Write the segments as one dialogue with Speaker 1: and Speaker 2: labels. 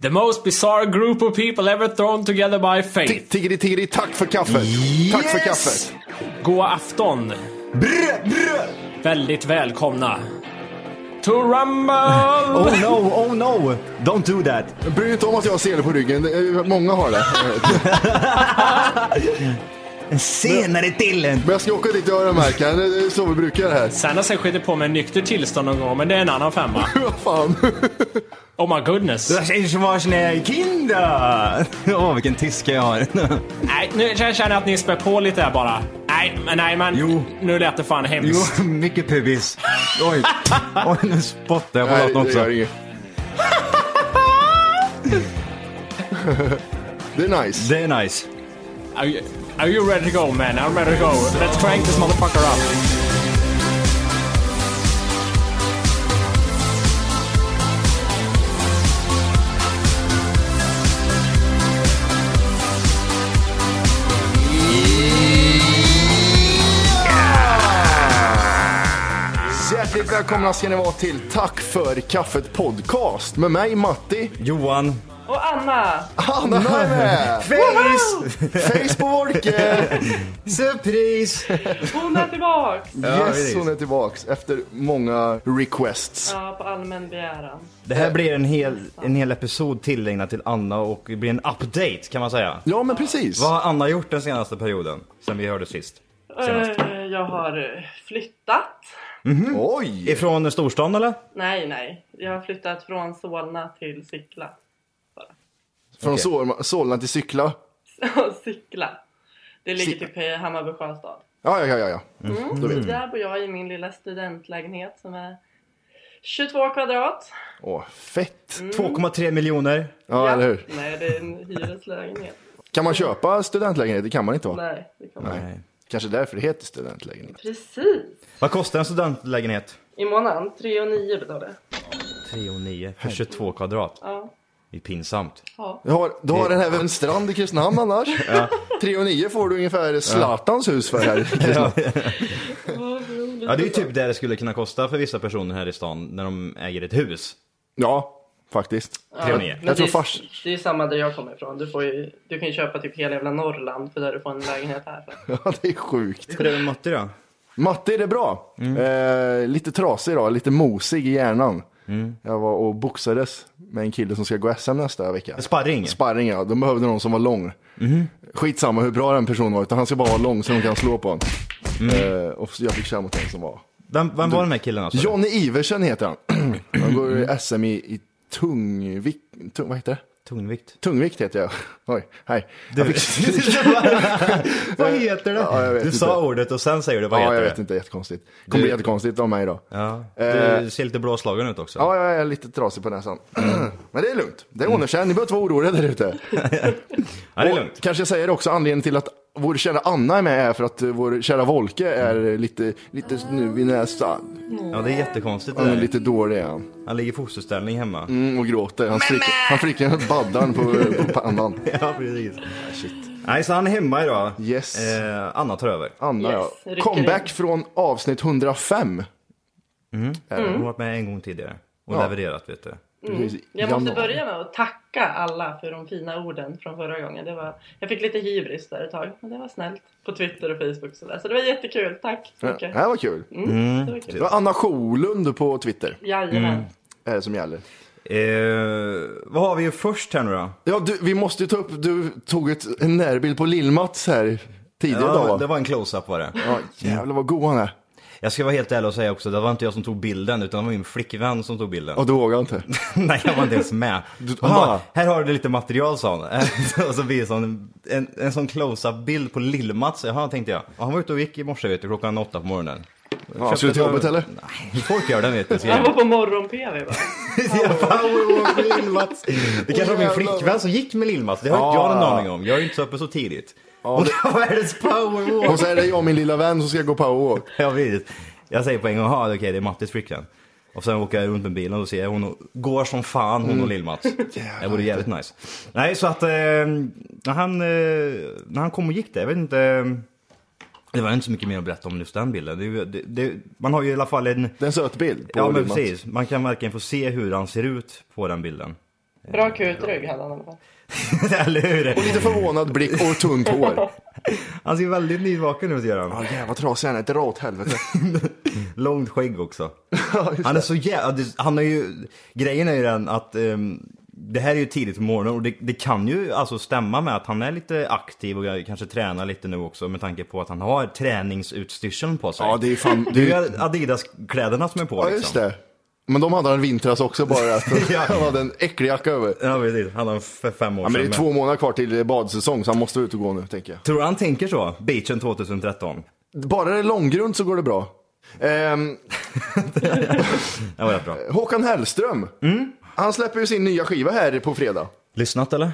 Speaker 1: The most bizarre group of people ever thrown together by
Speaker 2: Ti-
Speaker 1: fate.
Speaker 2: Tiggeri tiggeri, tack för kaffet! Tack för kaffet!
Speaker 1: God afton.
Speaker 2: Brr, brr.
Speaker 1: Väldigt välkomna. To rumble!
Speaker 3: Oh no, oh no! Don't do that!
Speaker 2: Bryr dig inte om att jag har sele på ryggen, Det är- många har det.
Speaker 3: Senare till en!
Speaker 2: Men jag ska åka dit och öronmärka, det är så vi brukar göra här.
Speaker 1: Sen har jag skitit på mig en nykter tillstånd någon gång, men det är en annan femma.
Speaker 2: Vad fan?
Speaker 1: Oh my goodness.
Speaker 3: Das ist was ne Kinder! Åh, oh, vilken tyska jag har.
Speaker 1: Nej, nu känner jag att ni spär på lite här bara. Nej, men nej men.
Speaker 3: Jo.
Speaker 1: Nu lät det fan
Speaker 3: Jo,
Speaker 1: hemskt.
Speaker 3: mycket pubis. Oj, Oj nu spottar jag på
Speaker 2: Nej,
Speaker 3: låten
Speaker 2: det
Speaker 3: också.
Speaker 2: gör inget. Det är nice.
Speaker 3: Det är nice.
Speaker 1: Are, you, are you ready to go man? I'm ready to go. Let's crank this motherfucker up.
Speaker 2: Hjärtligt välkomna ska ni vara till Tack för kaffet podcast med mig Matti.
Speaker 3: Johan.
Speaker 4: Och Anna!
Speaker 2: Anna är med!
Speaker 3: Face!
Speaker 2: Face på Wolke!
Speaker 3: Surprise!
Speaker 4: Hon är tillbaks!
Speaker 2: Yes,
Speaker 3: precis.
Speaker 2: hon är tillbaks efter många requests.
Speaker 4: Ja, på allmän begäran.
Speaker 3: Det här blir en hel, en hel episod tillägnad till Anna och det blir en update kan man säga.
Speaker 2: Ja, men precis.
Speaker 3: Vad har Anna gjort den senaste perioden? Sen vi hörde sist. Senast.
Speaker 4: Eh, Jag har eh, flyttat.
Speaker 2: Oj!
Speaker 3: Ifrån storstan eller?
Speaker 4: Nej, nej. Jag har flyttat från Solna till Sickla.
Speaker 2: Från Sol- Solna till Cykla.
Speaker 4: Sickla. Det ligger typ i Hammarby sjöstad.
Speaker 2: Ja, ja, ja, ja.
Speaker 4: Där bor jag i min lilla studentlägenhet som är 22 kvadrat.
Speaker 2: Åh, fett.
Speaker 3: Mm. 2,3 miljoner.
Speaker 2: Ja, eller hur?
Speaker 4: Nej, det är en hyreslägenhet.
Speaker 2: Kan man köpa studentlägenhet? Det kan man inte va?
Speaker 4: Nej, det kan man inte.
Speaker 3: Nej.
Speaker 2: Kanske därför det heter studentlägenhet.
Speaker 4: Precis!
Speaker 3: Vad kostar en studentlägenhet?
Speaker 4: I månaden, 3 och 9 betalar jag.
Speaker 3: 3 och 9 för 22 kvadrat.
Speaker 4: Ja.
Speaker 3: Det är pinsamt.
Speaker 2: Du har, du har den här vid en strand i Kristinehamn annars. 3 och 9 får du ungefär Zlatans hus för här. i Kristinehamn.
Speaker 3: Ja det är ju typ det det skulle kunna kosta för vissa personer här i stan när de äger ett hus.
Speaker 2: Ja, faktiskt.
Speaker 3: 3 och 9.
Speaker 2: tror
Speaker 4: Men det, är-
Speaker 2: fars-
Speaker 4: det är samma där jag kommer ifrån. Du, får ju, du kan ju köpa typ hela jävla Norrland för där du får en lägenhet här. för.
Speaker 2: Ja, det är sjukt.
Speaker 3: Hur är det med Matti då?
Speaker 2: Matte, är det bra?
Speaker 3: Mm.
Speaker 2: Eh, lite trasig idag, lite mosig i hjärnan.
Speaker 3: Mm.
Speaker 2: Jag var och boxades med en kille som ska gå SM nästa vecka.
Speaker 3: Sparring. Mhm.
Speaker 2: Sparring ja, de behövde någon som var lång. Skitsamma hur bra den personen var, utan han ska bara vara lång så de kan slå på honom.
Speaker 3: Mm.
Speaker 2: Eh, och så jag fick köra mot en som var
Speaker 3: Vem, vem var den här killen alltså?
Speaker 2: Jonny Iversen heter han. Han går i SM i, i tungvikt, tung, vad heter det?
Speaker 3: Tungvikt.
Speaker 2: Tungvikt heter jag. Oj, hej.
Speaker 3: Du.
Speaker 2: Jag fick-
Speaker 3: vad heter det?
Speaker 2: Ja, jag vet
Speaker 3: du sa
Speaker 2: inte.
Speaker 3: ordet och sen säger du vad
Speaker 2: ja,
Speaker 3: heter
Speaker 2: jag
Speaker 3: det?
Speaker 2: vet inte, jättekonstigt. Det kommer bli jättekonstigt av mig idag.
Speaker 3: Ja.
Speaker 2: Eh.
Speaker 3: Du ser lite blåslagen ut också.
Speaker 2: Ja, jag är lite trasig på näsan. Men det är lugnt. Det
Speaker 4: Mm.
Speaker 2: ordnar sig. Ni behöver inte vara oroliga där ute.
Speaker 3: Ja, det är
Speaker 2: Och
Speaker 3: lugnt.
Speaker 2: Kanske jag säger också anledningen till att vår kära Anna är med är för att eh, vår kära Volke
Speaker 4: Mm.
Speaker 2: är lite, lite snuv i näsan.
Speaker 3: Ja det är jättekonstigt det
Speaker 2: Han är
Speaker 3: där.
Speaker 2: lite dålig Mm, är han.
Speaker 3: Han ligger i fosterställning hemma.
Speaker 2: Mm, och gråter. Han spricker, han spricker med baddan på, på pannan.
Speaker 3: Ja precis.
Speaker 2: Shit.
Speaker 3: Nej, så han är hemma idag.
Speaker 2: Yes.
Speaker 3: Eh, Anna tar över.
Speaker 2: Anna
Speaker 4: Yes,
Speaker 2: ja.
Speaker 4: rycker
Speaker 2: Comeback
Speaker 4: in.
Speaker 2: från avsnitt 105.
Speaker 3: Hon har varit med en gång tidigare och
Speaker 2: Ja.
Speaker 3: levererat vet du.
Speaker 2: Precis,
Speaker 4: Mm. Jag måste
Speaker 2: januari.
Speaker 4: börja med att tacka alla för de fina orden från förra gången. Det var, jag fick lite hybris där ett tag, men det var snällt. På Twitter och Facebook och sådär. Så det var jättekul. Tack så
Speaker 2: Det
Speaker 4: mycket.
Speaker 2: här var kul.
Speaker 4: Mm, det var kul.
Speaker 2: Det var Anna Sjolund på Twitter.
Speaker 4: Jajamän.
Speaker 2: Är det som gäller.
Speaker 3: Eh, vad har vi ju först här nu då?
Speaker 2: Ja, du, vi måste ju ta upp, du tog ett, en närbild på Lill-Mats här tidigare idag va?
Speaker 3: det var en close-up var det.
Speaker 2: Ja, jävlar vad god han är.
Speaker 3: Jag ska vara helt ärlig och säga också, det var inte jag som tog bilden utan det var min flickvän som tog bilden.
Speaker 2: Ja, du vågar inte.
Speaker 3: Nej, jag var inte ens med. Hon
Speaker 2: aha.
Speaker 3: bara, här har du lite material sa hon. Eh, och så visade hon en, en, en sån close-up bild på Lill-Mats. Jaha, tänkte jag. Och han var ute och gick i morse vet du, klockan åtta på morgonen.
Speaker 2: Ja, ska du till jobbet eller?
Speaker 3: Nej, folk gör det vet du.
Speaker 4: Han var på morgon-PV bara.
Speaker 3: Jag bara, "Åh, åh, Lill-Mats." Det kanske var min
Speaker 2: Åh, jävlar. Ah.
Speaker 3: flickvän som gick med Lill-Mats. Det har inte jag
Speaker 2: Ja.
Speaker 3: någon aning om. Jag är ju inte så uppe så tidigt. Hon har världens powerwalk.
Speaker 2: Och så är det jag och min lilla vän som ska gå powerwalk.
Speaker 3: Jag vet. Jag säger på en gång, "Jaha, okej det är Mattis flickvän. Och sen åker jag runt med bilen och ser hon och går som fan hon
Speaker 2: Mm.
Speaker 3: och Lill-Mats. Det vore jävligt nice. Nej så att eh, när, han, eh, när han kom och gick där, jag vet inte. eh, Det var inte så mycket mer att berätta om just den bilden. Det, är ju- det, det, man har ju i alla fall en...
Speaker 2: Det är en söt bild på
Speaker 3: Ja men
Speaker 2: Lill-Mats.
Speaker 3: precis, man kan verkligen få se hur han ser ut på den bilden.
Speaker 4: Bra kutrygg hade han i alla fall.
Speaker 3: Eller hur?
Speaker 2: Och lite förvånad blick och tunt hår.
Speaker 3: Han ser väldigt nyvaken ut gör han.
Speaker 2: Ja, jävlar vad trasig han är. Dra åt helvete.
Speaker 3: Långt skägg också. Han är så jävla, han är ju, grejen är ju den att ehm, det här är ju tidigt på morgonen och det, det kan ju alltså stämma med att han är lite aktiv och kanske tränar lite nu också med tanke på att han har träningsutstyrseln på sig.
Speaker 2: Ja, det är ju fan...
Speaker 3: Det är ju Adidas-kläderna som är på
Speaker 2: Ja,
Speaker 3: liksom.
Speaker 2: just det. Men de hade han i vintras också bara. Att
Speaker 3: Ja.
Speaker 2: Han hade en äcklig jacka över.
Speaker 3: Ja precis, han har för fem år
Speaker 2: Ja, men det är
Speaker 3: sedan.
Speaker 2: två månader kvar till badsäsong så han måste ut och gå nu tänker jag.
Speaker 3: Tror du han tänker så? Beachen 2013.
Speaker 2: Bara det är långgrund så går det bra. Ehm,
Speaker 3: Det var rätt bra. Mm.
Speaker 2: Håkan Hellström. Han släpper ju sin nya skiva här på fredag.
Speaker 3: Lyssnat eller?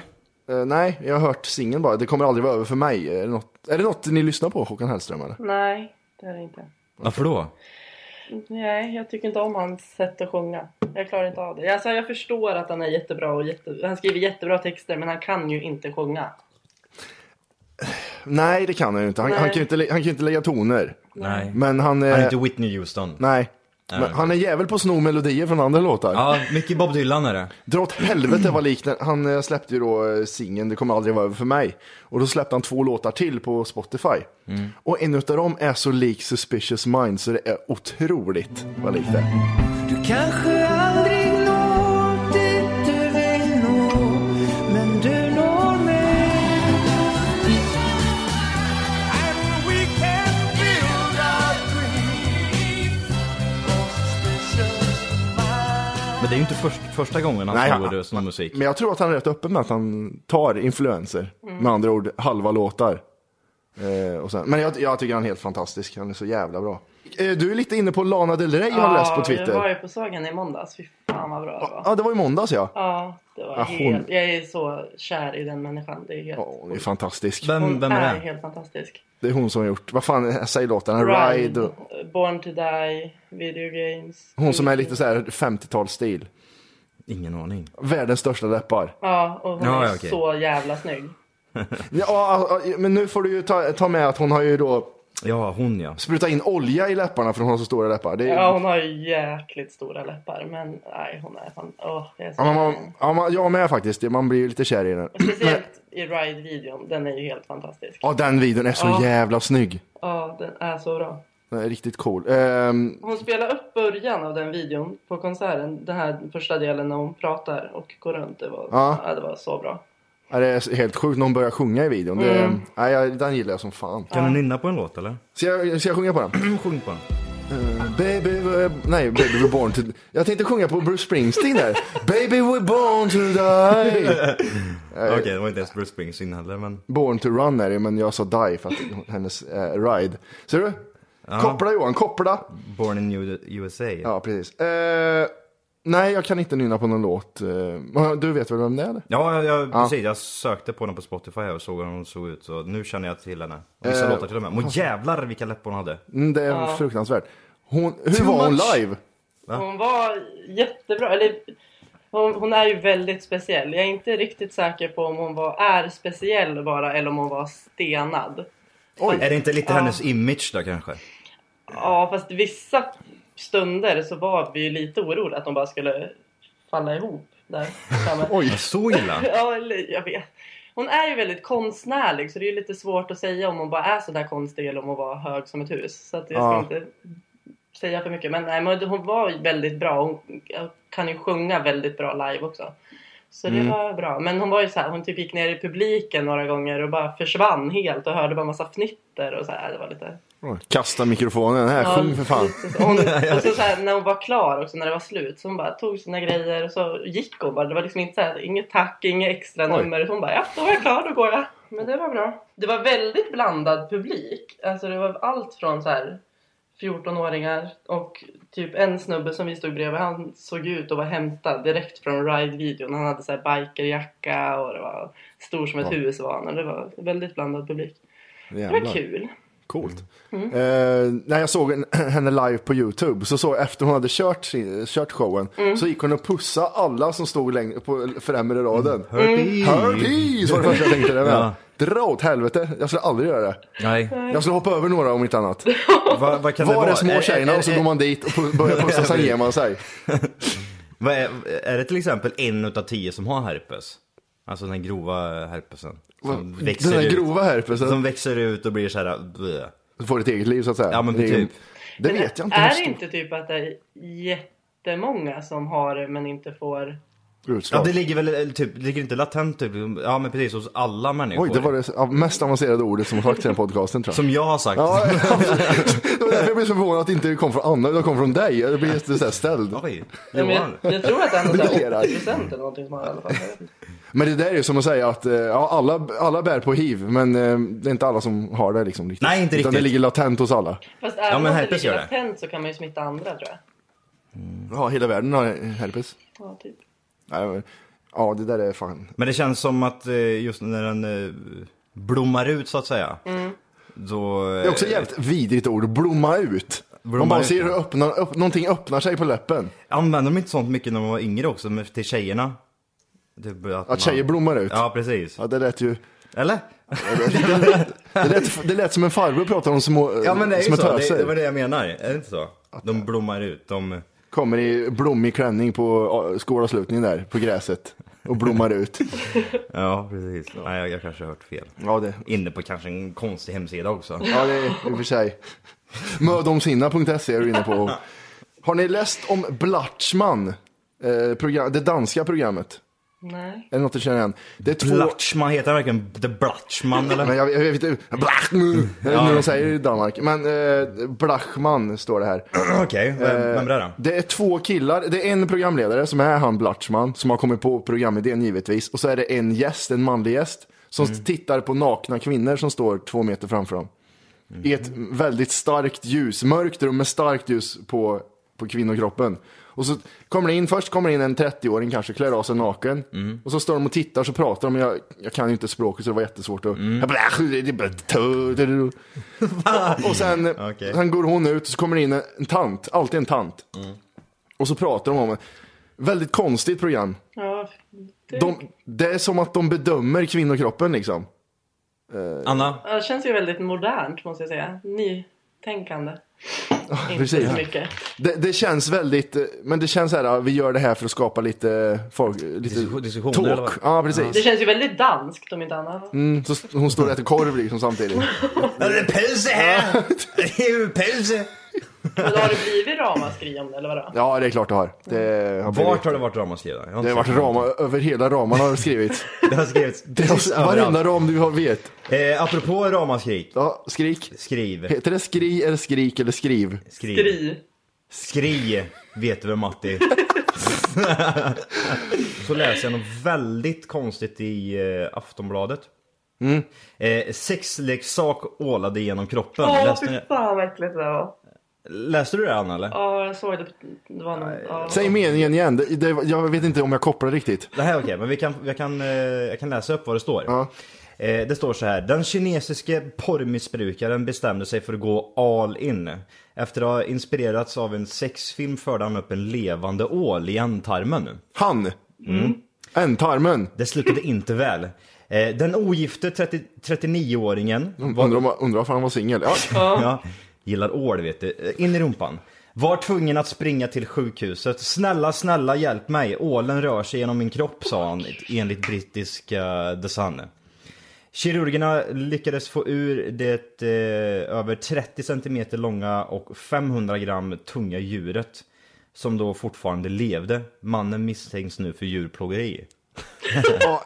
Speaker 2: Eh, nej, jag har hört singeln bara. Det kommer aldrig vara över för mig. Är det, något, är det något ni lyssnar på, Håkan Hellström? Eller?
Speaker 4: Nej, det är det inte.
Speaker 3: Varför då?
Speaker 4: Nej, jag tycker inte om hans sätt att sjunga. Jag klarar inte av det. Alltså, jag förstår att han är jättebra och jätte... han skriver jättebra texter men han kan ju inte sjunga.
Speaker 2: Nej, det kan han ju inte. Han,
Speaker 4: Nej.
Speaker 2: han, kan, ju inte lä- han kan ju inte lägga toner.
Speaker 3: Nej.
Speaker 2: Men han är...
Speaker 3: Han är inte Whitney Houston.
Speaker 2: Nej. Men han är jävel på att sno melodier från andra låtar.
Speaker 3: Ja, mycket Bob Dylan är det.
Speaker 2: Dra åt helvete vad lik den. Han eh, släppte ju då eh, singeln Det kommer aldrig vara över för mig. Och då släppte han två låtar till på Spotify. Och en utav dem är så lik Suspicious Minds så det är otroligt vad likt det är.
Speaker 5: Du kanske aldrig når dit du vill nå Men du når mig And we can build our dreams For suspicious minds
Speaker 3: Men det är ju inte först, första gången han
Speaker 2: Nej,
Speaker 3: snor
Speaker 2: han-
Speaker 3: sån musik.
Speaker 2: Men jag tror att han är rätt öppen med att han tar influenser.
Speaker 4: Mm.
Speaker 2: Med andra ord halva låtar. Eh, och sen, men jag, jag tycker han är helt fantastisk. Han är så jävla bra. Eh, du är lite inne på Lana Del Rey har jag läst på
Speaker 4: Jag var
Speaker 2: Twitter.
Speaker 4: ju på sågen i måndags. Fy fan vad bra det var.
Speaker 2: Ja, det var i måndags ja.
Speaker 4: Ja, det var
Speaker 2: Ja, hon-
Speaker 4: helt... Jag är så kär i den människan. Det är helt...
Speaker 2: Ja, hon är fantastisk.
Speaker 3: Vem,
Speaker 4: Hon
Speaker 3: vem är det?
Speaker 4: helt fantastisk.
Speaker 2: Det är hon som har gjort, vad fan säger låten? Ride. och-
Speaker 4: Born to die, video games.
Speaker 2: Hon som är lite så här 50-talsstil.
Speaker 3: Ingen aning.
Speaker 2: Världens största läppar.
Speaker 4: Ja, och hon
Speaker 3: Ja,
Speaker 4: är
Speaker 3: ja, okej.
Speaker 4: så jävla snygg.
Speaker 2: Ja, ja, ja, men nu får du ju ta, ta med att hon har ju då
Speaker 3: Ja, hon ja.
Speaker 2: sprutat in olja i läpparna för hon har så stora läppar. Det är,
Speaker 4: Ja,
Speaker 2: ja.
Speaker 4: hon har ju jäkligt stora läppar. Men nej, hon är fan... Åh, jag är så
Speaker 2: man, ja, man, jag med faktiskt, man blir ju lite kär i den.
Speaker 4: Speciellt i Ride-videon. Den är ju helt fantastisk.
Speaker 2: Ja, den videon är så
Speaker 4: Ja.
Speaker 2: jävla snygg.
Speaker 4: Ja, den är så bra.
Speaker 2: Den är riktigt cool. Ehm,
Speaker 4: Hon spelar upp början av den videon på konserten. Den här första delen när hon pratar och går runt. Det var,
Speaker 2: Ja.
Speaker 4: ja. det var så bra.
Speaker 2: ja, det är helt sjukt när hon börjar sjunga i videon. Det,
Speaker 4: Mm.
Speaker 2: nej, jag- den gillar jag som fan.
Speaker 3: Kan du nynna på en låt eller?
Speaker 2: Ska jag, ska jag sjunga på den?
Speaker 3: Sjung på den.
Speaker 2: Baby, we're, nej, baby we're born to... Jag tänkte sjunga på Bruce Springsteen där. baby we're born to die.
Speaker 3: Okej,
Speaker 2: Eh,
Speaker 3: det var inte ens Bruce Springsteen heller men.
Speaker 2: Born to run är det, men jag sa die för att hennes eh, ride. Ser du? Koppla Johan, koppla!
Speaker 3: Born in U- USA. Ja.
Speaker 2: Ja, precis. Eh, nej, jag kan inte nynna på någon låt. Eh, du vet väl vem det är? eller?
Speaker 3: Ja, jag, precis. Jag sökte på henne på Spotify och såg hur hon såg ut. Så nu känner jag till henne. Och vissa
Speaker 2: Eh,
Speaker 3: låtar till och med. Men jävlar vilka läppar hon hade.
Speaker 2: Mm, det är fruktansvärt. Hon, hur var hon
Speaker 3: much.
Speaker 2: live?
Speaker 4: Hon var jättebra. Eller, Hon, hon är ju väldigt speciell. Jag är inte riktigt säker på om hon var, är speciell bara eller om hon var stenad.
Speaker 3: Är det inte lite hennes image då kanske?
Speaker 4: Ja, fast vissa stunder så var vi ju lite oroliga att de bara skulle falla ihop där framme.
Speaker 3: Ja, Så illa?
Speaker 4: Ja, eller jag vet. Hon är ju väldigt konstnärlig så det är ju lite svårt att säga om hon bara är sådär konstig eller om hon var hög som ett hus. Så att jag ska
Speaker 2: Ja.
Speaker 4: inte säga för mycket. Men, nej, men hon var ju väldigt bra. Hon kan ju sjunga väldigt bra live också. Så det var bra. Men hon var ju så här, hon typ gick ner i publiken några gånger och bara försvann helt och hörde bara massa fnitter och så här. Det var lite
Speaker 2: Kasta mikrofonen här,
Speaker 4: Ja,
Speaker 2: sjung för fan.
Speaker 4: precis. Och Hon, och så, så här, när hon var klar också, när det var slut, så hon bara tog sina grejer och så gick hon bara. Det var liksom inte så här, inget tack, inget extra
Speaker 2: Oj.
Speaker 4: nummer. Hon bara, ja, då var jag klar, då går jag. Men det var bra. Det var väldigt blandad publik. Alltså det var allt från så här 14-åringar och typ en snubbe som vi stod bredvid, han såg ut att vara hämtad direkt från Ride-videon. Han hade så här bikerjacka och det var stor som ett hus var han. Och Det var väldigt blandad publik. Det var
Speaker 2: Jävlar.
Speaker 4: kul. Mm.
Speaker 2: Coolt. Eh, när jag såg en- henne live på YouTube, så såg jag efter hon hade kört, sin- kört showen,
Speaker 4: Mm.
Speaker 2: så gick hon och pussade alla som stod längre på främre raden. Mm.
Speaker 3: Hörpi!
Speaker 2: Hörpis var det första jag tänkte. Det med.
Speaker 3: Ja.
Speaker 2: Dra åt helvete, jag skulle aldrig göra det.
Speaker 3: Nej,
Speaker 2: Jag skulle hoppa över några om inte annat.
Speaker 3: vad, vad kan det
Speaker 2: Var
Speaker 3: vara?
Speaker 2: det små tjejerna
Speaker 3: är,
Speaker 2: och så
Speaker 3: är,
Speaker 2: går man dit och pu- börjar pussa, sen ger man sig.
Speaker 3: vad är, är det till exempel en utav tio som har herpes? Alltså den grova herpesen. Som växer
Speaker 2: Den där
Speaker 3: ut.
Speaker 2: grova herpesen,
Speaker 3: Som växer ut och blir såhär... bleh.
Speaker 2: får ett eget liv så att säga.
Speaker 3: Ja, men
Speaker 2: det, är ju-
Speaker 3: typ.
Speaker 2: det
Speaker 4: Men
Speaker 2: vet jag inte.
Speaker 4: Är
Speaker 2: hur
Speaker 4: det
Speaker 2: stor-
Speaker 4: inte typ att det är jättemånga som har det men inte får...
Speaker 3: Ja,
Speaker 2: Utslag.
Speaker 3: det ligger väl eh, typ, ligger inte latent typ, ja men precis hos alla människor.
Speaker 2: Oj, det var det ja, mest avancerade ordet som har sagts i den här podcasten tror jag.
Speaker 3: Som jag har sagt.
Speaker 2: Ja, ja, precis. det var därför jag blev så förvånad att det inte kom från Anna, utan kom från dig. Jag blev så här ställd.
Speaker 3: Oj,
Speaker 4: Jag,
Speaker 3: Johan.
Speaker 4: jag, jag tror att det är ändå så här
Speaker 2: Briljerar.
Speaker 4: 80% eller någonting som har det i alla fall. Jag vet inte.
Speaker 2: Men det där är ju som att säga att eh, ja, alla, alla bär på hiv, men eh, det är inte alla som har det liksom riktigt.
Speaker 3: Nej, inte
Speaker 2: Utan det
Speaker 3: riktigt.
Speaker 2: ligger latent hos alla.
Speaker 4: Fast även
Speaker 3: men
Speaker 4: om det
Speaker 3: herpes
Speaker 4: ligger
Speaker 3: gör det.
Speaker 4: latent så kan man ju smitta andra tror jag.
Speaker 2: Ja, hela världen har herpes.
Speaker 4: Ja, typ.
Speaker 2: Nej, men, ja, det där är fan.
Speaker 3: Men det känns som att eh, just när den eh, blommar ut så att säga. Då... eh,
Speaker 2: Det är också ett jävligt vidrigt ord, blomma ut.
Speaker 3: Blomma
Speaker 2: Man bara
Speaker 3: ut,
Speaker 2: ser
Speaker 3: ja.
Speaker 2: hur öppnar, öpp, någonting öppnar sig på läppen.
Speaker 3: Använde de inte sånt mycket när man var yngre också, med, till tjejerna? Typ att, man-
Speaker 2: Att tjejer blommar ut.
Speaker 3: Ja, precis.
Speaker 2: Ja, det lät ju...
Speaker 3: Eller?
Speaker 2: Det lät, det lät som en farbror pratar om små...
Speaker 3: Ja men det är
Speaker 2: som
Speaker 3: ju
Speaker 2: en
Speaker 3: så, det,
Speaker 2: töser.
Speaker 3: det var det jag menar. Är det inte så? De blommar ut, de...
Speaker 2: Kommer i blommig klänning på ja, skolavslutningen där, på gräset. Och blommar ut.
Speaker 3: Ja, precis. Nej, jag, jag kanske har hört fel.
Speaker 2: Ja, det,
Speaker 3: Inne på kanske en konstig hemsida också.
Speaker 2: ja, det är i och för sig. Mödomshinna.se är du inne på. Har ni läst om Blatchman? Eh, program, det danska programmet?
Speaker 4: Nej.
Speaker 2: Är det något du känner igen? Det är två...
Speaker 3: Blatchman, heter han verkligen The Blatchman eller?
Speaker 2: Men jag, jag vet inte, Blachman, ja. de säger i Danmark. Men eh, Blachman står det här.
Speaker 3: Okej, vem,
Speaker 2: Eh,
Speaker 3: vem är det då?
Speaker 2: Det är två killar, det är en programledare som är han Blatchman som har kommit på programidén givetvis. Och så är det en gäst, en manlig gäst, som
Speaker 3: Mm.
Speaker 2: tittar på nakna kvinnor som står två meter framför dem. I ett
Speaker 3: Mm.
Speaker 2: väldigt starkt ljus, mörkt rum med starkt ljus på, på kvinnokroppen. Och så kommer det in, först kommer det in en 30-åring kanske, klär av sig naken.
Speaker 3: Mm.
Speaker 2: Och så står de och tittar så pratar de, men jag, jag kan ju inte språket så det var jättesvårt att...
Speaker 3: Mm.
Speaker 2: "Äh, Och sen,
Speaker 3: Okej. Mm.
Speaker 2: sen går hon ut och så kommer det in en, en tant, alltid en tant. Och så pratar de om det. Väldigt konstigt program.
Speaker 4: Ja, det,
Speaker 2: De, det är som att de bedömer kvinnokroppen liksom.
Speaker 3: Anna?
Speaker 4: ja, det känns ju väldigt modernt måste jag säga. Nytänkande. inte
Speaker 2: precis.
Speaker 4: så mycket.
Speaker 2: Det, det känns väldigt, eh, men det känns så här, vi gör det här för att skapa lite, folk, lite
Speaker 3: Diskussion- diskussioner eller vad?
Speaker 2: talk. Ja,
Speaker 4: Det
Speaker 2: precis.
Speaker 4: känns ju väldigt danskt om inte annat.
Speaker 2: Mm, så st- hon står och äter korv liksom samtidigt.
Speaker 3: Ja, Det är pölse här! Det är ju pölse!
Speaker 4: Men då har det blivit ramaskri om det eller vadå?
Speaker 2: Ja, det är klart det har. Det har, blivit-
Speaker 3: Vart har det varit ramaskri då? Jag inte
Speaker 2: det har varit
Speaker 3: sett
Speaker 2: rama, över hela ramarna har det skrivits.
Speaker 3: Det har skrivits
Speaker 2: Det
Speaker 3: precis
Speaker 2: har,
Speaker 3: överallt.
Speaker 2: varenda ram du har vet.
Speaker 3: Eh, apropå ramaskrik.
Speaker 2: Ja, skrik.
Speaker 3: Skriv.
Speaker 2: Heter det skri eller skrik eller skriv?
Speaker 3: Skriv.
Speaker 4: Skri.
Speaker 3: Skri, vet du väl Matti? Så läser jag något väldigt konstigt i eh, Aftonbladet.
Speaker 2: Mm.
Speaker 3: Eh, sexleksak ålade genom kroppen.
Speaker 4: Åh,
Speaker 3: läste,
Speaker 4: fy
Speaker 3: ni-
Speaker 4: fan vad äckligt det där var.
Speaker 3: läste du det Anna eller?
Speaker 4: Ja, jag såg det. Det var någon... Ja.
Speaker 2: Säg meningen igen, det, det, jag vet inte om jag kopplar riktigt.
Speaker 3: Det här är okej, men vi kan, jag, kan, eh, jag kan läsa upp vad det står.
Speaker 2: Ja.
Speaker 3: Eh, Det står så här. Den kinesiske porrmissbrukaren bestämde sig för att gå all in. Efter att ha inspirerats av en sexfilm förde han upp en levande ål i ändtarmen.
Speaker 2: Han! Ändtarmen.
Speaker 3: Det slutade inte väl. Eh, Den ogifte 30 39-åringen
Speaker 2: Undrar om, undrar om han var singel. Ja.
Speaker 3: Ja, gillar ål vet du. In i rumpan. Var tvungen att springa till sjukhuset. Snälla, snälla hjälp mig. Ålen rör sig genom min kropp, sa han enligt brittiska The Sun. Kirurgerna lyckades få ur det eh, över 30 cm långa och 500 gram tunga djuret. Som då fortfarande levde. Mannen misstänks nu för djurplågeri.
Speaker 2: Ja,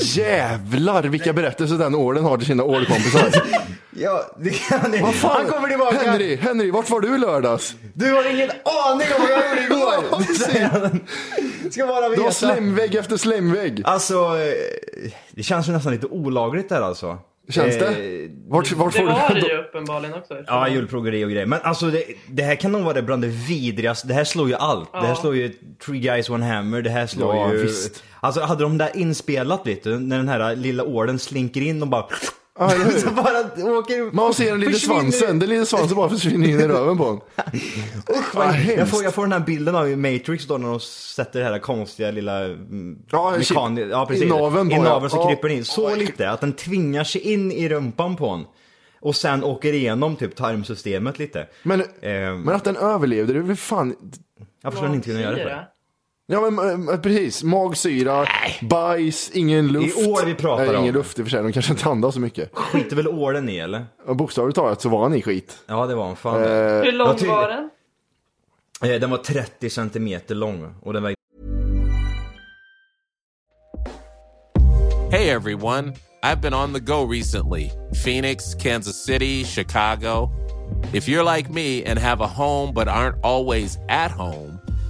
Speaker 2: jävlar vilka berättelser den ålen har till sina ålkompisar.
Speaker 3: Ja, det kan ni.
Speaker 2: Vad fan?
Speaker 3: Han kommer tillbaka.
Speaker 2: Henry, Henry, vart var du i lördags?
Speaker 3: Du har ingen aning om vad jag gjorde
Speaker 2: Ja,
Speaker 3: igår!
Speaker 2: precis.
Speaker 3: Ska bara
Speaker 2: Du har
Speaker 3: veta.
Speaker 2: slemvägg efter slemvägg.
Speaker 3: Alltså, eh, det känns ju nästan lite olagligt där alltså.
Speaker 2: Känns
Speaker 3: Eh,
Speaker 2: det? Vart, vart
Speaker 4: Det
Speaker 2: får
Speaker 4: var
Speaker 2: du
Speaker 4: det ju uppenbarligen också.
Speaker 3: Ja, julplågeri och grejer. Men alltså det, det här kan nog vara det bland det vidrigaste. Det här slår ju allt. Det här
Speaker 4: Ja.
Speaker 3: slår ju Three Guys One Hammer, det här slår
Speaker 2: Ja,
Speaker 3: ju...
Speaker 2: visst.
Speaker 3: Alltså hade de där inspelat vet du, när den här lilla ålen slinker in och bara...
Speaker 2: Ja, eller hur?
Speaker 3: så bara åker...
Speaker 2: Man ser den lilla
Speaker 3: försvinner.
Speaker 2: svansen. Den lilla svansen bara försvinner in i röven på honom.
Speaker 3: Usch,
Speaker 2: Vad
Speaker 3: vad jag,
Speaker 2: hemskt.
Speaker 3: får, jag får den här bilden av i Matrix då när de sätter det här konstiga lilla mm,
Speaker 2: Ja, en chip.
Speaker 3: mekan... Ja, precis.
Speaker 2: I naveln
Speaker 3: I
Speaker 2: bara.
Speaker 3: naveln så
Speaker 2: Ja.
Speaker 3: kryper den in. Så
Speaker 2: Ja, äckligt.
Speaker 3: lite att den tvingar sig in i rumpan på en. Och sen åker igenom typ tarmsystemet lite.
Speaker 2: Men,
Speaker 3: Ehm.
Speaker 2: men att den överlevde, det är väl fan...
Speaker 3: Jag förstår inte hur den gör det för.
Speaker 2: Ja men eh, precis, magsyra, bajs, ingen luft.
Speaker 3: I år vi pratar
Speaker 2: Nej,
Speaker 3: om.
Speaker 2: Ingen luft i och för sig, de kanske inte andas så mycket.
Speaker 3: Skiter väl ålen i eller?
Speaker 2: Och Bokstavligt talat så var han i skit.
Speaker 3: Ja det var en fan.
Speaker 2: Eh.
Speaker 4: Hur lång
Speaker 3: Jag tycker-
Speaker 4: var den?
Speaker 3: Eh, Den var 30 centimeter lång och den vägde
Speaker 6: Hey everyone, I've been on the go recently Phoenix, Kansas City, Chicago. If you're like me and have a home but aren't always at home,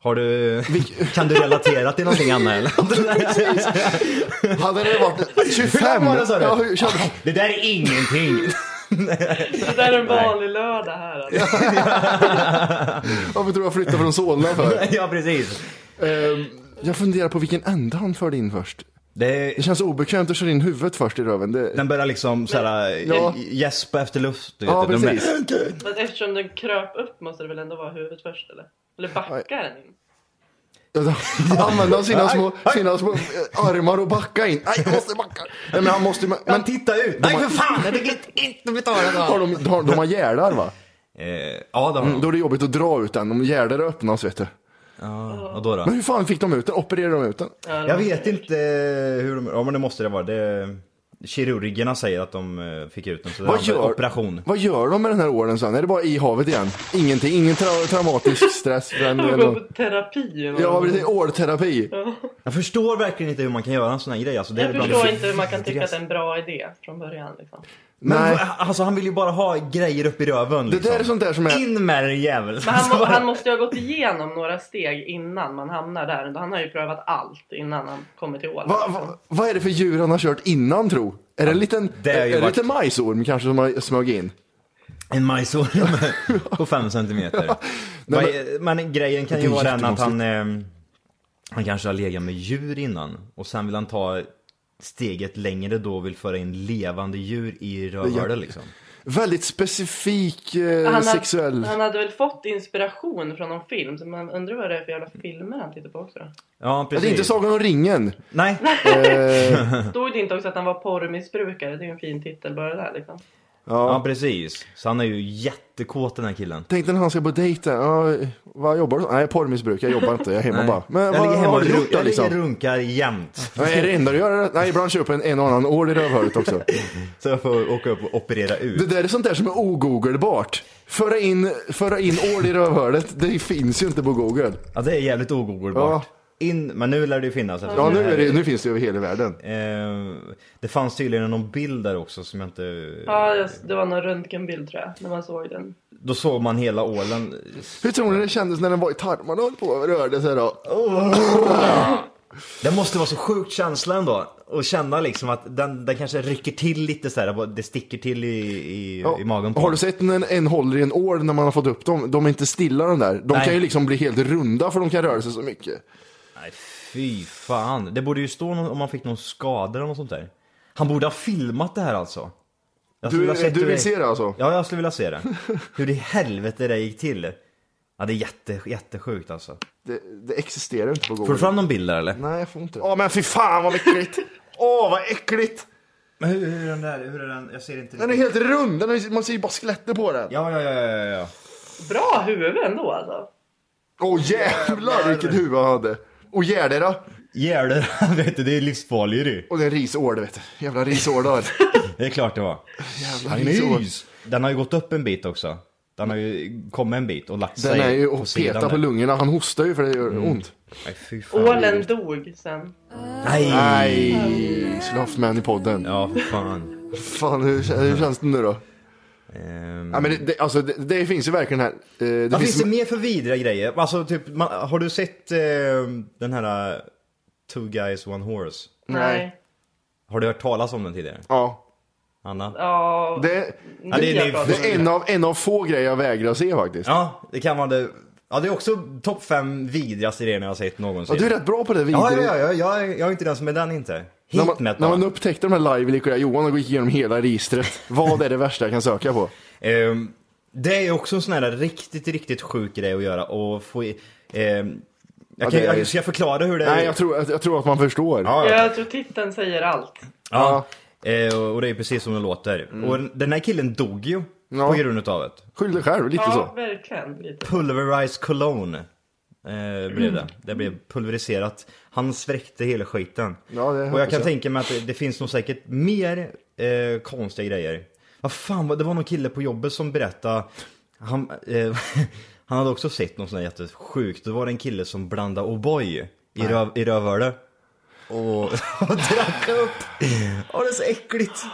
Speaker 3: Har du... Kan du relatera till någonting Anna eller?
Speaker 2: Hade det varit 25?
Speaker 3: Hur lång var den, sa du?
Speaker 2: Ja, hur, kände-
Speaker 3: Det där är ingenting!
Speaker 4: Det där är en vanlig lördag här. Alltså.
Speaker 2: varför tror jag flyttade från Solna för?
Speaker 3: ja precis.
Speaker 2: Ehm, jag funderar på vilken ände han förde in först.
Speaker 3: Det,
Speaker 2: Det känns obekvämt att köra in huvudet först i röven. Det,
Speaker 3: den börjar liksom såhär
Speaker 2: Ja.
Speaker 3: gäspa efter luft. du vet.
Speaker 2: ja,
Speaker 3: Den börjar-
Speaker 2: precis.
Speaker 4: Men eftersom den kröp upp måste det väl ändå vara huvudet först eller? Eller backar den in?
Speaker 2: Använda sina små, sina små eh, armar och backa in. Nej, jag måste backa. Nej, men han måste... Men,
Speaker 3: Men titta ut! Nej för fan! Det är inte betalat!
Speaker 2: har de, har, de har gärdar va?
Speaker 3: Eh, ja det har
Speaker 2: Då
Speaker 3: de.
Speaker 2: är det jobbigt att dra ut den. Om gärdar öppnas vet du.
Speaker 3: Ja, då, då.
Speaker 2: Men hur fan fick de ut den? Opererade de ut den?
Speaker 3: Jag vet inte hur de... Ja men det måste det vara. Det, kirurgerna säger att de eh, fick ut den så det var en operation.
Speaker 2: Vad gör de med den här ålen sen? Är det bara i havet igen? Ingenting, ingen tra- traumatisk stress. för den-
Speaker 4: Han
Speaker 2: den-
Speaker 4: går på terapi. eller
Speaker 2: Ja,
Speaker 4: något.
Speaker 2: precis. Ålterapi.
Speaker 3: Jag förstår verkligen inte hur man kan göra en sån här grej. Alltså, det är
Speaker 4: Jag
Speaker 3: bland
Speaker 4: förstår
Speaker 3: det-
Speaker 4: inte hur man kan tycka att det är en bra idé från början. Liksom.
Speaker 3: Men
Speaker 2: Nej.
Speaker 3: va- alltså han vill ju bara ha grejer upp i röven
Speaker 2: Det
Speaker 3: liksom.
Speaker 2: där är sånt där som är...
Speaker 3: In med den jäveln!
Speaker 4: Men han, må, han måste ju ha gått igenom några steg innan man hamnar där. Han har ju prövat allt innan han kommer till ålen.
Speaker 2: Va, va, vad är det för djur han har kört innan tro? Är det en liten,
Speaker 3: det är ju
Speaker 2: är det en
Speaker 3: varit-
Speaker 2: liten majsorm kanske som har smög in?
Speaker 3: En majsorm på fem centimeter. Vad är- men, grejen kan
Speaker 2: Det
Speaker 3: ju
Speaker 2: är
Speaker 3: vara den att han, eh, han kanske har legat med djur innan och sen vill han ta steget längre då och vill föra in levande djur i rövhålet liksom.
Speaker 2: Väldigt specifik eh,
Speaker 4: han,
Speaker 2: sexuell...
Speaker 4: hade, han hade väl fått inspiration från någon film. Så man undrar vad det är för jävla filmer han tittar på också. då.
Speaker 3: Ja precis.
Speaker 2: Det är inte Sagan om ringen.
Speaker 3: Nej.
Speaker 4: Stod det inte också att han var porrmissbrukare? Det är ju en fin titel bara där liksom.
Speaker 3: Ja, precis. Så han är ju jättekåt den här killen.
Speaker 2: Tänk när han ska på dejten. Ja, vad jobbar du? Nej, porrmissbruk. Jag jobbar inte. Jag är hemma
Speaker 3: Nej.
Speaker 2: bara. Men
Speaker 3: jag
Speaker 2: vad
Speaker 3: ligger hemma
Speaker 2: har
Speaker 3: och
Speaker 2: du
Speaker 3: runk-
Speaker 2: gjort då
Speaker 3: jag
Speaker 2: liksom?
Speaker 3: ligger och runkar jämt.
Speaker 2: Ja, är det enda du gör? Nej, ibland köper jag en, en och annan ål i rövhålet också.
Speaker 3: Så jag får åka upp och operera
Speaker 2: Det
Speaker 3: ut.
Speaker 2: där är sånt där som är ogooglebart. Föra in, föra in ål i rövhålet, det finns ju inte på Google.
Speaker 3: Ja, det är jävligt ogooglebart. In, men nu lär det ju finnas.
Speaker 2: Ja,
Speaker 3: eftersom
Speaker 2: nu,
Speaker 3: här
Speaker 2: är det, nu finns det över hela världen.
Speaker 3: Eh, det fanns tydligen någon bild där också som jag inte...
Speaker 4: Ja, just, det var någon röntgenbild tror jag, när man såg den.
Speaker 3: Då såg man hela ålen.
Speaker 2: Hur tror ni det kändes när den var i tarmarna och höll på och rörde sig då?
Speaker 3: Det måste vara så sjukt känsla ändå. Och känna liksom att den, den kanske rycker till lite så här. Det sticker till i, i,
Speaker 2: Ja.
Speaker 3: i magen på
Speaker 2: Har du
Speaker 3: den.
Speaker 2: sett när en, en håller i en ål när man har fått upp dem? De är inte stilla de där. De
Speaker 3: Nej.
Speaker 2: kan ju liksom bli helt runda för de kan röra sig så mycket.
Speaker 3: Nej, fy fan. Det borde ju stå någon, om man fick någon skada eller något sånt där. Han borde ha filmat det här alltså. Jag skulle
Speaker 2: Du,
Speaker 3: vilja sett
Speaker 2: du
Speaker 3: hur
Speaker 2: vill se det alltså?
Speaker 3: Ja, jag skulle vilja se det. Hur i helvete det gick till. Ja, det är jätte, jättesjukt alltså.
Speaker 2: Det, det existerar inte på
Speaker 3: Får du
Speaker 2: Google.
Speaker 3: fram någon bild där eller?
Speaker 2: Nej, jag får inte. Åh, men fy fan vad äckligt! Åh, vad äckligt!
Speaker 3: Men hur, hur är den där? Hur är den? Jag ser inte
Speaker 2: Den är helt rund, den är, man ser ju bara skelettet på den.
Speaker 3: Ja, ja, ja, ja, ja, ja.
Speaker 4: Bra huvud ändå alltså.
Speaker 2: Åh jävlar vilket huvud han hade! Och gärdera!
Speaker 3: Gärdö, vet du, det är livsfarlig du.
Speaker 2: Och det är en risål, vet du. Jävla risål där.
Speaker 3: Det är klart det var.
Speaker 2: Jävla risål.
Speaker 3: Den har ju gått upp en bit också. Den har ju kommit en bit och lagt sig
Speaker 2: Den är ju
Speaker 3: på
Speaker 2: och
Speaker 3: sidan
Speaker 2: peta på
Speaker 3: där. Mm.
Speaker 2: lungorna, han hostar ju för det gör ont.
Speaker 3: Nej, fy fan.
Speaker 4: Ålen dog sen.
Speaker 3: Nej!
Speaker 2: Nej, skulle haft med en i podden.
Speaker 3: Ja, för fan.
Speaker 2: Fan, hur, kä- hur känns det nu då?
Speaker 3: Ehm.
Speaker 2: Ja, men det, det, alltså, det, det finns ju verkligen här. eh, Det
Speaker 3: Vad finns
Speaker 2: finns,
Speaker 3: det mer för vidriga grejer? Alltså typ, man, har du sett eh, den här eh, Two Guys One Horse?
Speaker 2: Nej.
Speaker 3: Har du hört talas om den tidigare?
Speaker 2: Ja,
Speaker 3: Anna?
Speaker 4: Ja,
Speaker 2: det,
Speaker 3: Ja, det,
Speaker 4: nya
Speaker 3: det,
Speaker 4: bra.
Speaker 3: det,
Speaker 2: det är en av, en av få grejer jag vägrar se faktiskt.
Speaker 3: ja, det kan vara det. Ja, det är också topp fem vidrigaste grejer jag har sett någonsin.
Speaker 2: Ja, du är rätt bra på det.
Speaker 3: Ja,
Speaker 2: vidrig-
Speaker 3: ja, ja, ja, jag, är- jag är inte den som är den inte.
Speaker 2: När
Speaker 3: Hit
Speaker 2: man,
Speaker 3: med
Speaker 2: när man upptäckte de här live lyckliga Johan och gick igenom hela registret. Vad är det värsta jag kan söka på?
Speaker 3: Ehm, Det är också en sån här riktigt, riktigt sjuk grej att göra och få i, ehm, jag kan,
Speaker 2: det är-
Speaker 3: jag, ska jag förklara hur det är?
Speaker 2: Nej, jag tror, jag tror att man förstår.
Speaker 3: ja, ja.
Speaker 4: Jag tror titeln säger allt.
Speaker 3: ja. Eh, och- Och det är precis som det låter. Och den här killen dog ju
Speaker 2: Mm. Ja.
Speaker 3: på grund utav det.
Speaker 2: Skyll dig själv, lite
Speaker 4: Ja,
Speaker 2: så.
Speaker 4: verkligen. Lite.
Speaker 3: Pulverized cologne eh, blev det. Det blev pulveriserat. Han sväckte hela skiten.
Speaker 2: Ja, det
Speaker 3: och jag
Speaker 2: hoppas
Speaker 3: kan
Speaker 2: jag.
Speaker 3: tänka mig att det, det finns nog säkert mer eh, konstiga grejer. Vad fan, vad- det var någon kille på jobbet som berättade. Han, eh, han hade också sett något sånt där jättesjukt. Det var det en kille som blandade O'boy i, röv, i rövhålet. Och, och drack upp. Åh, det är så äckligt.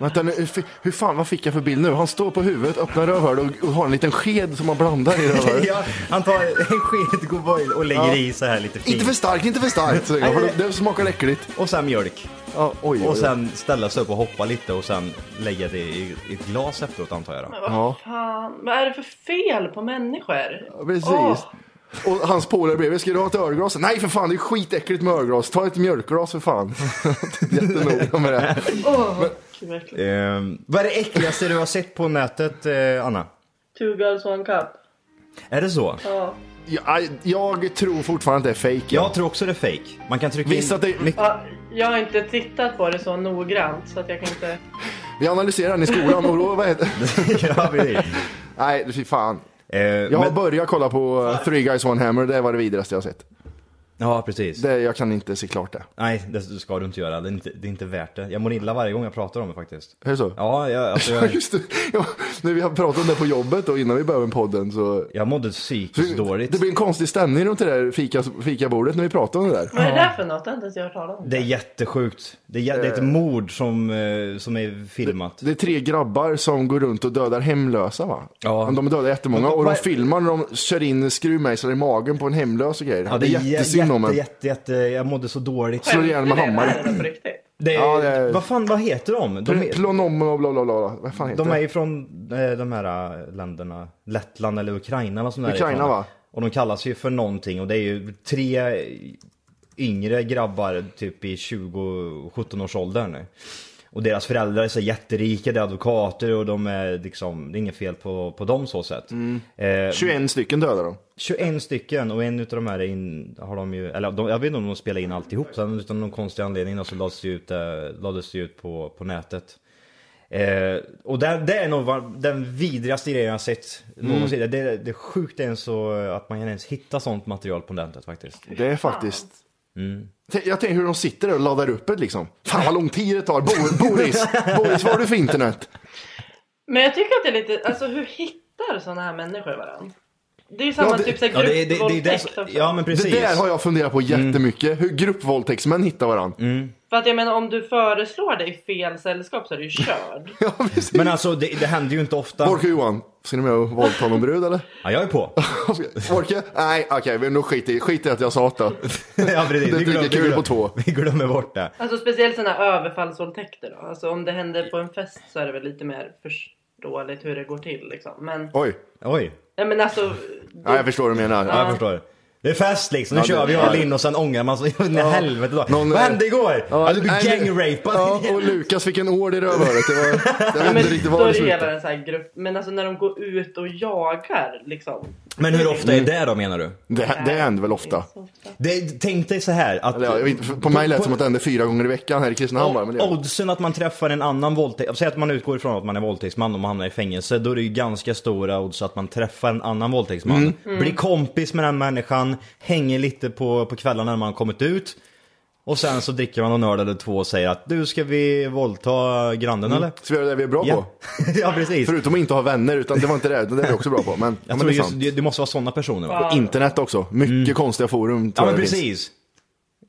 Speaker 2: Vänta, nu, hur, fi- hur fan, vad fick jag för bild nu? Han står på huvudet, öppnar rövhålet och, och har en liten sked som han blandar i rövhålet.
Speaker 3: Ja, han tar en sked O'boy och lägger i så här lite
Speaker 2: Inte för
Speaker 3: fint.
Speaker 2: starkt, inte för starkt. säger jag, För det, det smakar äckligt.
Speaker 3: Och sen mjölk.
Speaker 2: Ja, oj, oj, oj.
Speaker 3: Och sen ställa sig upp och hoppa lite och sen lägga det i i ett glas efteråt antar jag då.
Speaker 2: Ja,
Speaker 4: Fan, vad är det för fel på människor?
Speaker 2: precis.
Speaker 4: Åh,
Speaker 2: Och hans polare bredvid, ska du ha ett ölglas? Nej för fan, det är skitäckligt med ölglas. Ta ett mjölkglas för fan. Jättenoga med det.
Speaker 4: åh, gud, verkligen.
Speaker 3: Ehm, vad är det äckligaste du har sett på nätet eh, Anna?
Speaker 4: Two girls one cup.
Speaker 3: Är det så?
Speaker 4: Ja.
Speaker 2: Jag, jag tror fortfarande att det är fake.
Speaker 3: Jag tror också det är fake. Man kan trycka
Speaker 2: Visst
Speaker 3: in...
Speaker 2: att det-
Speaker 3: mycket-
Speaker 4: Ja, Jag har inte tittat på det så noggrant så att jag kan inte...
Speaker 2: Vi analyserar den i skolan och då, vad heter
Speaker 3: ja, precis.
Speaker 2: Nej, fy fan.
Speaker 3: Eh,
Speaker 2: Jag har
Speaker 3: men...
Speaker 2: börjat kolla på eh, Three Guys One Hammer, det var det vidrigaste jag har sett.
Speaker 3: ja, precis.
Speaker 2: Det, jag kan inte se klart det.
Speaker 3: Nej, det ska du inte göra. Det är inte, det är inte värt det. Jag mår illa varje gång jag pratar om det faktiskt.
Speaker 2: Är det så?
Speaker 3: Ja, jag, alltså,
Speaker 2: Ja,
Speaker 3: jag,
Speaker 2: just det. Ja, när vi har pratat om det på jobbet och innan vi började med podden så...
Speaker 3: jag mådde psykiskt dåligt.
Speaker 2: Det blir en konstig stämning runt det där fika, fikabordet när vi pratar om det där.
Speaker 4: Vad är det där för något? Det har inte ens jag hört talas om.
Speaker 3: Det är jättesjukt. Det är, jä- det är ett mord som, eh, som är filmat.
Speaker 2: Det är tre grabbar som går runt och dödar hemlösa va?
Speaker 3: Ja.
Speaker 2: De dödar jättemånga och de
Speaker 3: Vad-
Speaker 2: filmar när de kör in skruvmejslar i magen på en hemlös och grejer.
Speaker 3: Ja,
Speaker 2: det är
Speaker 3: jä-
Speaker 2: jättesynd om
Speaker 3: jätte,
Speaker 2: en.
Speaker 3: jätte, jätte, Jag mådde så dåligt.
Speaker 2: Slår ihjäl med
Speaker 4: Skämtar ni?
Speaker 2: hammare.
Speaker 4: Det här är på riktigt.
Speaker 3: Det är,
Speaker 2: Ja, det är-
Speaker 3: Vad fan, vad heter de? De, är-
Speaker 2: Plonom och bla bla bla. bla. Vad fan heter
Speaker 3: de
Speaker 2: det?
Speaker 3: är ifrån eh, de här eh, länderna, Lettland eller Ukraina eller sånt där
Speaker 2: Ukraina,
Speaker 3: ifrån.
Speaker 2: va?
Speaker 3: Och de kallas ju för någonting och det är ju tre yngre grabbar typ i 20-17 års åldern. Och deras föräldrar är så jätterika, de är advokater och de är liksom, det är inget fel på, på dem så sett.
Speaker 2: Mm.
Speaker 3: Eh,
Speaker 2: 21 stycken dödar de.
Speaker 3: 21 stycken och en utav de här är in, har de ju, eller de, jag vet inte om de spelar in alltihop sen utan någon konstig anledning då, så lades det ju ut, eh, lades det ut på, på nätet. Eh, och det, det är nog va- den vidrigaste grejen jag har sett någonsin.
Speaker 2: Mm.
Speaker 3: Det, det är sjukt ens så att man ens hittar sånt material på nätet faktiskt.
Speaker 2: Det är faktiskt...
Speaker 3: Mm.
Speaker 2: Tänk- Jag tänker hur de sitter där och laddar upp det liksom. Fan vad lång tid det tar. Bo- Boris, Boris, vad har du för internet?
Speaker 4: Men jag tycker att det är lite, alltså hur hittar sådana här människor varandra? Det är ju samma
Speaker 2: Ja, det-
Speaker 4: typ såhär
Speaker 3: Ja, det, det, det, det,
Speaker 4: gruppvåldtäkt
Speaker 3: det,
Speaker 4: också.
Speaker 3: ja men precis. Mm.
Speaker 2: Det där har jag funderat på jättemycket. Hur gruppvåldtäktsmän hittar varandra.
Speaker 4: För att jag menar om du föreslår dig fel sällskap så är du ju körd.
Speaker 2: Ja, precis.
Speaker 3: Men alltså det, det händer ju inte ofta.
Speaker 2: Orke Johan, ska ni med och våldta någon brud eller?
Speaker 3: Ja, jag är på.
Speaker 2: Orke? Nej, okej, men då skit i, skit i att jag sa det.
Speaker 3: ja, precis.
Speaker 2: Det
Speaker 3: Vi
Speaker 2: dyker kul
Speaker 3: glömmer- vi glömmer-
Speaker 2: på två.
Speaker 3: Vi glömmer bort det.
Speaker 4: Alltså speciellt sådana här överfallsvåldtäkter då. Alltså om det händer på en fest så är det väl lite mer förståeligt hur det går till liksom. Men,
Speaker 2: Oj,
Speaker 3: Oj,
Speaker 4: ja, men alltså.
Speaker 2: ja, jag förstår vad du menar.
Speaker 3: ja, jag förstår. Det är fest liksom, nu
Speaker 2: Ja,
Speaker 3: kör
Speaker 2: det-
Speaker 3: vi all in och sen ångrar man sig. Nej helvete då.
Speaker 2: Någon- eh,
Speaker 3: Vad hände igår? Ja, du blev
Speaker 2: nej, men-
Speaker 3: gangrapad.
Speaker 2: Ja, och Lukas fick en ord i rövhålet. Det var, jag
Speaker 4: Ja,
Speaker 2: vet
Speaker 4: men
Speaker 2: inte riktigt
Speaker 4: då
Speaker 2: var
Speaker 4: är
Speaker 2: det
Speaker 4: det hela
Speaker 2: slutade.
Speaker 4: den så här grupp. Men alltså när de går ut och jagar liksom.
Speaker 3: Men hur ofta är
Speaker 2: Mm.
Speaker 3: det då menar du?
Speaker 2: Det, det händer väl ofta.
Speaker 3: Det, tänk dig så här att...
Speaker 2: Eller, ja, jag vet, inte, för- på mig lät det som att det hände fyra gånger i veckan här i Kristinehamn. bara, Men det,
Speaker 3: Oddsen att man träffar en annan våldtäkt, säg att man utgår ifrån att man är våldtäktsman och man hamnar i fängelse, då är det ju ganska stora odds att man träffar en annan våldtäktsman.
Speaker 2: Mm.
Speaker 3: Blir kompis med den människan, hänger lite på, på kvällarna när man har kommit ut. Och sen så dricker man någon öl eller två och säger att du ska vi våldta grannen eller?
Speaker 2: så vi gör det vi är bra
Speaker 3: Ja.
Speaker 2: på.
Speaker 3: ja precis.
Speaker 2: Mm. Förutom att inte ha vänner, utan det var inte det. utan Det är vi också bra på. Men, ja,
Speaker 3: Jag
Speaker 2: men
Speaker 3: tror
Speaker 2: det är
Speaker 3: just,
Speaker 2: sant.
Speaker 3: det, det måste vara sådana personer va?
Speaker 2: Internet också. Mycket konstiga forum.
Speaker 3: Mm. Ja
Speaker 2: tror
Speaker 3: men
Speaker 2: jag det finns.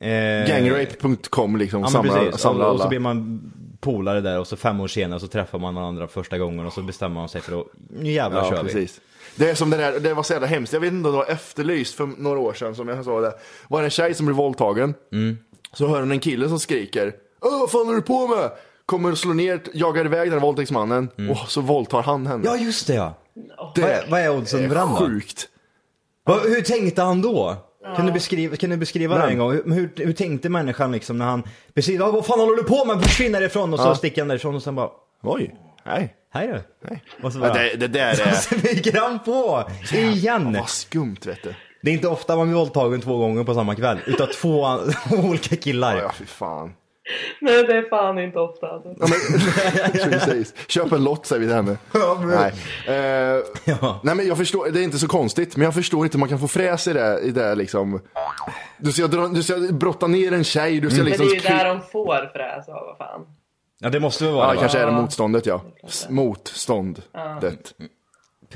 Speaker 3: precis. Eh,
Speaker 2: Gangrape.com liksom.
Speaker 3: Ja, men
Speaker 2: samlar,
Speaker 3: precis.
Speaker 2: samlar
Speaker 3: och, och
Speaker 2: alla.
Speaker 3: så blir man polare där och så fem år senare så träffar man varandra första gången och så bestämmer man sig för att nu jävlar
Speaker 2: Ja,
Speaker 3: kör vi.
Speaker 2: precis. Det är som det där, det var så jävla hemskt. Jag vet inte om det var efterlyst för några år sedan som jag sa det. Var det en tjej som blev våldtagen.
Speaker 3: Mm.
Speaker 2: Så hör hon en kille som skriker. Åh, vad fan är du på med? Kommer och slår ner, jagar iväg den våldtäktsmannen.
Speaker 3: Mm.
Speaker 2: Och så våldtar han henne.
Speaker 3: Ja just det ja!
Speaker 2: det
Speaker 3: Vad är, vad är oddsen för den
Speaker 2: är
Speaker 3: då?
Speaker 2: sjukt.
Speaker 3: Vad- Hur tänkte han då? Kan du beskriva, kan du beskriva det
Speaker 2: Men-
Speaker 3: en gång? Hur, hur, hur tänkte människan liksom när han precis, "Ja, vad fan håller du på med? Försvinn därifrån! Och så sticker han därifrån och sen bara,
Speaker 2: Oj. Nej.
Speaker 3: hej du! Och så
Speaker 2: Ja,
Speaker 3: bara,
Speaker 2: det, det där
Speaker 3: och
Speaker 2: är...
Speaker 3: så viker han på! Igen!
Speaker 2: Vad skumt vet du.
Speaker 3: Det är inte ofta man blir våldtagen två gånger på samma kväll, utav två an- olika killar.
Speaker 2: Ja, fy fan.
Speaker 4: Nej det är fan inte ofta alltså.
Speaker 2: Ja, men, precis. Köp en lott säger vi det här med. Nej. Eh, nej men jag förstår, det är inte så konstigt, men jag förstår inte hur man kan få fräs i det, i det liksom. Du ska, dra, du ska brotta ner en tjej, du ska
Speaker 4: Mm. Men det
Speaker 2: liksom...
Speaker 4: är ju där
Speaker 2: kli-
Speaker 4: de får fräs av, vad fan.
Speaker 3: Ja det måste väl vara
Speaker 2: Ja,
Speaker 3: det, va?
Speaker 2: kanske är det motståndet ja. S- Motståndet.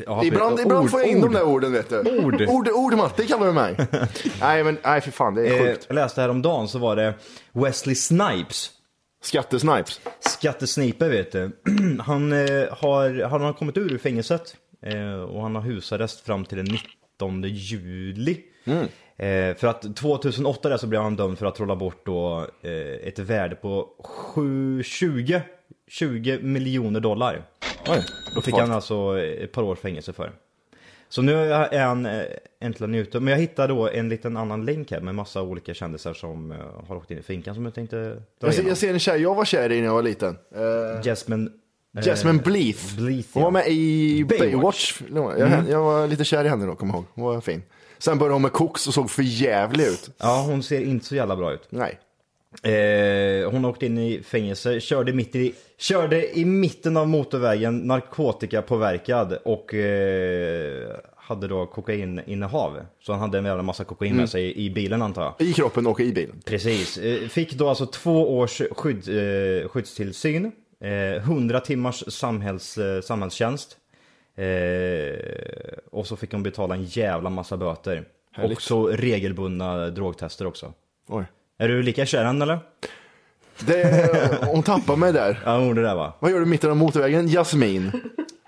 Speaker 3: Ja,
Speaker 2: Ibland,
Speaker 3: ord-
Speaker 2: ibland får jag in de
Speaker 3: ord.
Speaker 2: där orden vet du.
Speaker 3: Ord.
Speaker 2: Ord, ord Matti kallar du mig. nej men, nej för fan det är
Speaker 3: Eh,
Speaker 2: sjukt.
Speaker 3: jag läste häromdagen så var det Wesley Snipes,
Speaker 2: Skattesnipes.
Speaker 3: skattesnipe vet du. Han, eh, har, han har kommit ur fängelset eh, och han har husarrest fram till den 19 juli.
Speaker 2: Mm.
Speaker 3: Eh, för att 2008 där så blev han dömd för att trolla bort då, eh, ett värde på 7, 20, 20 miljoner dollar.
Speaker 2: Oj,
Speaker 3: Då fick han alltså ett par års fängelse för. Så nu är han eh, äntligen ute. Men jag hittade då en liten annan länk här med massa olika kändisar som eh, har åkt in i finkan som jag tänkte dra
Speaker 2: jag, ser,
Speaker 3: igenom.
Speaker 2: jag ser en tjej jag var kär i när jag var liten. Eh,
Speaker 3: Jasmine... eh,
Speaker 2: Jasmine Bleeth.
Speaker 3: Bleeth,
Speaker 2: Hon
Speaker 3: ja.
Speaker 2: var med i
Speaker 3: Baywatch. Mm.
Speaker 2: Baywatch. Jag, jag var lite kär i henne då, kommer jag ihåg. Hon var fin. Sen började hon med koks och såg för jävlig ut.
Speaker 3: Ja, hon ser inte så jävla bra ut.
Speaker 2: Nej.
Speaker 3: Eh, hon har åkt in i fängelse, körde, mitt i, körde i mitten av motorvägen narkotikapåverkad och eh, hade då kokaininnehav. Så han hade en jävla massa kokain med sig i, i bilen antar jag.
Speaker 2: I kroppen och i bilen.
Speaker 3: Precis. Eh, Fick då alltså två års skydd, eh, skyddstillsyn, eh, 100 timmars samhälls, eh, samhällstjänst. Eh, och så fick hon betala en jävla massa böter. Och så regelbundna drogtester också.
Speaker 2: Oj.
Speaker 3: Är du lika kär i henne, eller?
Speaker 2: Det, hon tappar mig där.
Speaker 3: Ja, hon gjorde det va?
Speaker 2: Vad gör du mitt i den motorvägen? Jasmin.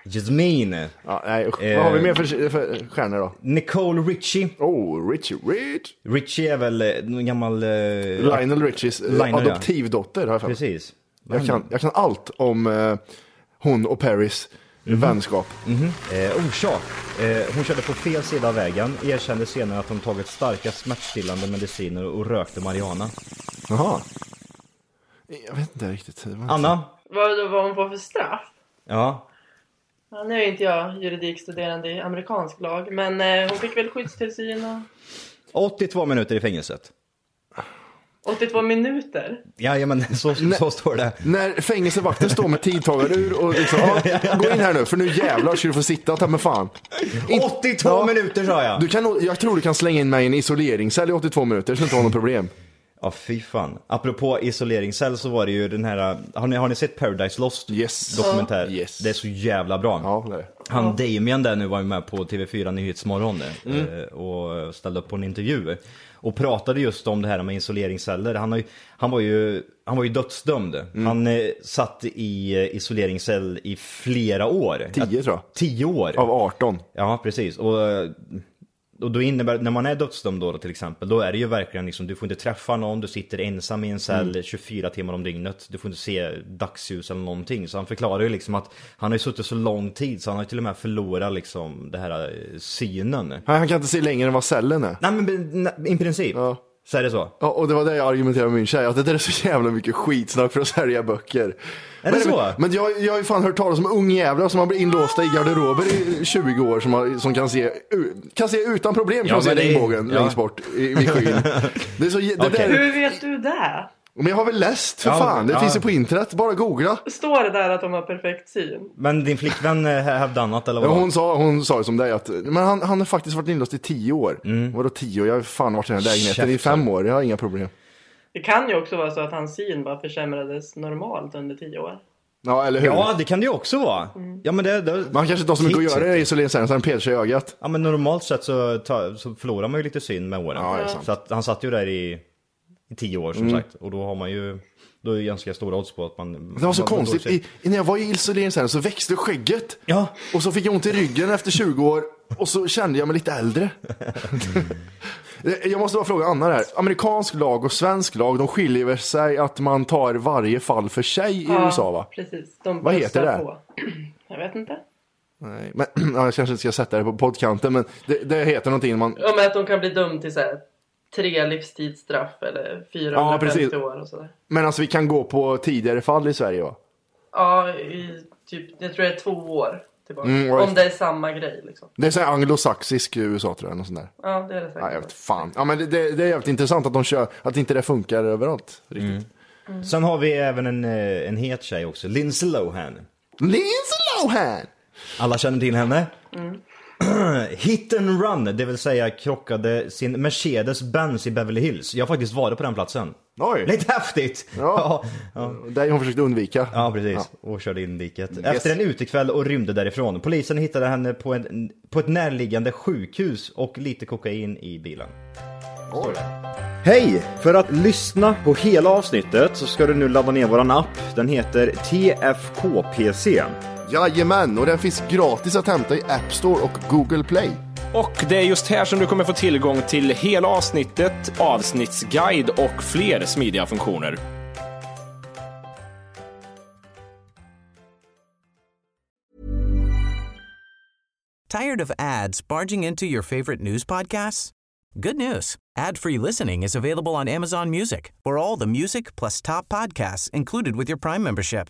Speaker 3: Jasmine.
Speaker 2: Ja, nej, usch.
Speaker 3: Eh.
Speaker 2: Vad har vi mer för, för stjärnor då?
Speaker 3: Nicole Richie.
Speaker 2: Oh, Richie Rich.
Speaker 3: Richie är väl eh, någon gammal... eh,
Speaker 2: Lionel Richies eh,
Speaker 3: Lionel, ja.
Speaker 2: adoptivdotter har jag för mig.
Speaker 3: Precis.
Speaker 2: jag kan, jag kan allt om eh, hon och Paris
Speaker 3: Mhm.
Speaker 2: vänskap.
Speaker 3: Eh, orsak. Eh, hon körde på fel sida av vägen, erkände senare att hon tagit starka smärtstillande mediciner och rökte marijuana.
Speaker 2: Jaha. Jag vet inte riktigt. Det var inte-
Speaker 3: Anna?
Speaker 4: Vad, vad hon får för straff?
Speaker 3: Ja.
Speaker 4: Ja, nu är inte jag juridikstuderande i amerikansk lag, men eh, hon fick väl skyddstillsyn och...
Speaker 3: 82 minuter i fängelset.
Speaker 4: 82 minuter.
Speaker 3: Jajamän, så, så står det.
Speaker 2: När fängelsevakten står med tidtagare ur och liksom, ja, gå in här nu för nu jävlar ska du få sitta, ta mig fan. In-
Speaker 3: 82
Speaker 2: Ja.
Speaker 3: minuter sa jag!
Speaker 2: Du kan, nog- jag tror du kan slänga in mig i en isoleringscell i 82 minuter, det ska inte vara något problem.
Speaker 3: Ja, fy fan. Apropå isoleringscell så var det ju den här, har ni, har ni sett Paradise Lost?
Speaker 2: Yes.
Speaker 3: Dokumentär.
Speaker 2: Ja. Yes.
Speaker 3: Det är så jävla bra.
Speaker 2: Ja, det är det.
Speaker 3: Han Damien där nu var ju med på TV4 Nyhetsmorgon nu,
Speaker 2: Mm.
Speaker 3: eh, och ställde upp på en intervju. eh, Och pratade just om det här med isoleringsceller. Han, har ju, han, var, ju, han var ju dödsdömd.
Speaker 2: Mm.
Speaker 3: Han eh, satt i eh, isoleringscell i flera år.
Speaker 2: Tio, tror jag.
Speaker 3: Tio år.
Speaker 2: Av 18.
Speaker 3: Ja, precis. Och, eh, och då innebär när man är dödsdömd då, då till exempel, då är det ju verkligen liksom, du får inte träffa någon, du sitter ensam i en cell
Speaker 2: Mm.
Speaker 3: 24 timmar om dygnet, du får inte se dagsljus eller någonting. Så han förklarar ju liksom att han har ju suttit så lång tid så han har ju till och med förlorat liksom det här eh, synen.
Speaker 2: Han han kan inte se längre än vad cellen är.
Speaker 3: Nej men be- i princip,
Speaker 2: Ja.
Speaker 3: så är det så.
Speaker 2: Ja, och det var det jag argumenterade med min tjej, att det där är så jävla mycket skitsnack för att sälja böcker.
Speaker 3: Är
Speaker 2: men,
Speaker 3: det så?
Speaker 2: Men jag, jag har ju fan hört talas om ungjävlar som har blivit inlåsta i garderober i 20 år som, har, som kan, se, u- kan se utan problem kan
Speaker 3: Ja,
Speaker 2: se
Speaker 3: men det-
Speaker 2: regnbågen
Speaker 3: ja.
Speaker 2: längst bort i, vid skyn. Det är så, jä- det
Speaker 3: Okej.
Speaker 2: där,
Speaker 4: Hur vet du det?
Speaker 2: men jag har väl läst för
Speaker 3: Ja,
Speaker 2: fan, det
Speaker 3: ja.
Speaker 2: finns ju på internet, bara googla.
Speaker 4: Står det där att de har perfekt syn?
Speaker 3: Men din flickvän eh, hävdade annat eller
Speaker 2: Ja,
Speaker 3: vad?
Speaker 2: Hon sa, hon sa ju som dig att men han, han har faktiskt varit inlåst i 10 år. Vadå 10? Jag har fan varit i den här lägenheten i
Speaker 3: Mm. Käften.
Speaker 2: 5 år, jag har inga problem.
Speaker 4: Det kan ju också vara så att hans syn bara försämrades normalt under 10 år.
Speaker 2: Ja, eller hur?
Speaker 3: ja, det kan det ju också vara.
Speaker 2: Mm.
Speaker 3: Ja men det, det...
Speaker 2: Men han kanske inte har så mycket att göra i isolering sen, så han petar sig i ögat.
Speaker 3: Ja men normalt sett så, ta, så förlorar man ju lite syn med åren.
Speaker 2: Ja, det är sant. Mm.
Speaker 3: Så att han satt ju där i, i tio år som sagt. Och då har man ju, då är det ganska stora odds på att man...
Speaker 2: Det var så
Speaker 3: man- man
Speaker 2: konstigt,
Speaker 3: får se-
Speaker 2: I, i- när jag var i isolering sen så växte skägget.
Speaker 3: Ja.
Speaker 2: Och så fick jag ont i ryggen efter 20 år och så kände jag mig lite äldre. jag måste bara fråga Anna det här. Amerikansk lag och svensk lag, de skiljer väl sig att man tar varje fall för sig i USA va?
Speaker 4: Precis. De
Speaker 2: Vad heter
Speaker 4: plussar
Speaker 2: det?
Speaker 4: På. Jag vet inte.
Speaker 2: Nej, men ja, jag kanske inte ska sätta det på poddkanten, men det, det heter någonting när man...
Speaker 4: Ja, men att de kan bli dömd till så här, tre livstidsstraff eller
Speaker 2: Ja,
Speaker 4: 450
Speaker 2: precis.
Speaker 4: år och sådär.
Speaker 2: Men alltså vi kan gå på tidigare fall i Sverige va?
Speaker 4: Ja, i typ, jag tror det är två år tillbaka.
Speaker 2: Mm, och-
Speaker 4: Om det är samma grej liksom.
Speaker 2: Det är så här anglosaxisk i USA tror jag, något sånt där.
Speaker 4: Ja, det är det säkert.
Speaker 2: Nej, jag vet fan. Ja, men det, det, det är jävligt intressant att de kör, att inte det funkar överallt. Riktigt.
Speaker 3: Sen har vi även en, eh, en het tjej också, Lindsay Lohan.
Speaker 2: Lindsay Lohan!
Speaker 3: Alla känner till henne.
Speaker 2: Mm.
Speaker 3: Hit and run, det vill säga krockade sin Mercedes-Benz i Beverly Hills. Jag har faktiskt varit på den platsen.
Speaker 2: Oj.
Speaker 3: Lite häftigt!
Speaker 2: Ja.
Speaker 3: ja.
Speaker 2: Det hon försökte undvika.
Speaker 3: Ja precis, och körde in diket. Efter en utekväll och rymde därifrån. Polisen hittade henne på, en, på ett närliggande sjukhus och lite kokain i bilen. Hej! För att lyssna på hela avsnittet så ska du nu ladda ner våran app. Den heter TFKPC.
Speaker 2: Jajamän, och den finns gratis att hämta i App Store och Google Play.
Speaker 1: Och det är just här som du kommer få tillgång till hela avsnittet, avsnittsguide och fler smidiga funktioner.
Speaker 7: Tired of ads barging into your favorite news podcasts? Good news. Ad-free listening is available on Amazon Music. For all the music plus top podcasts included with your Prime membership.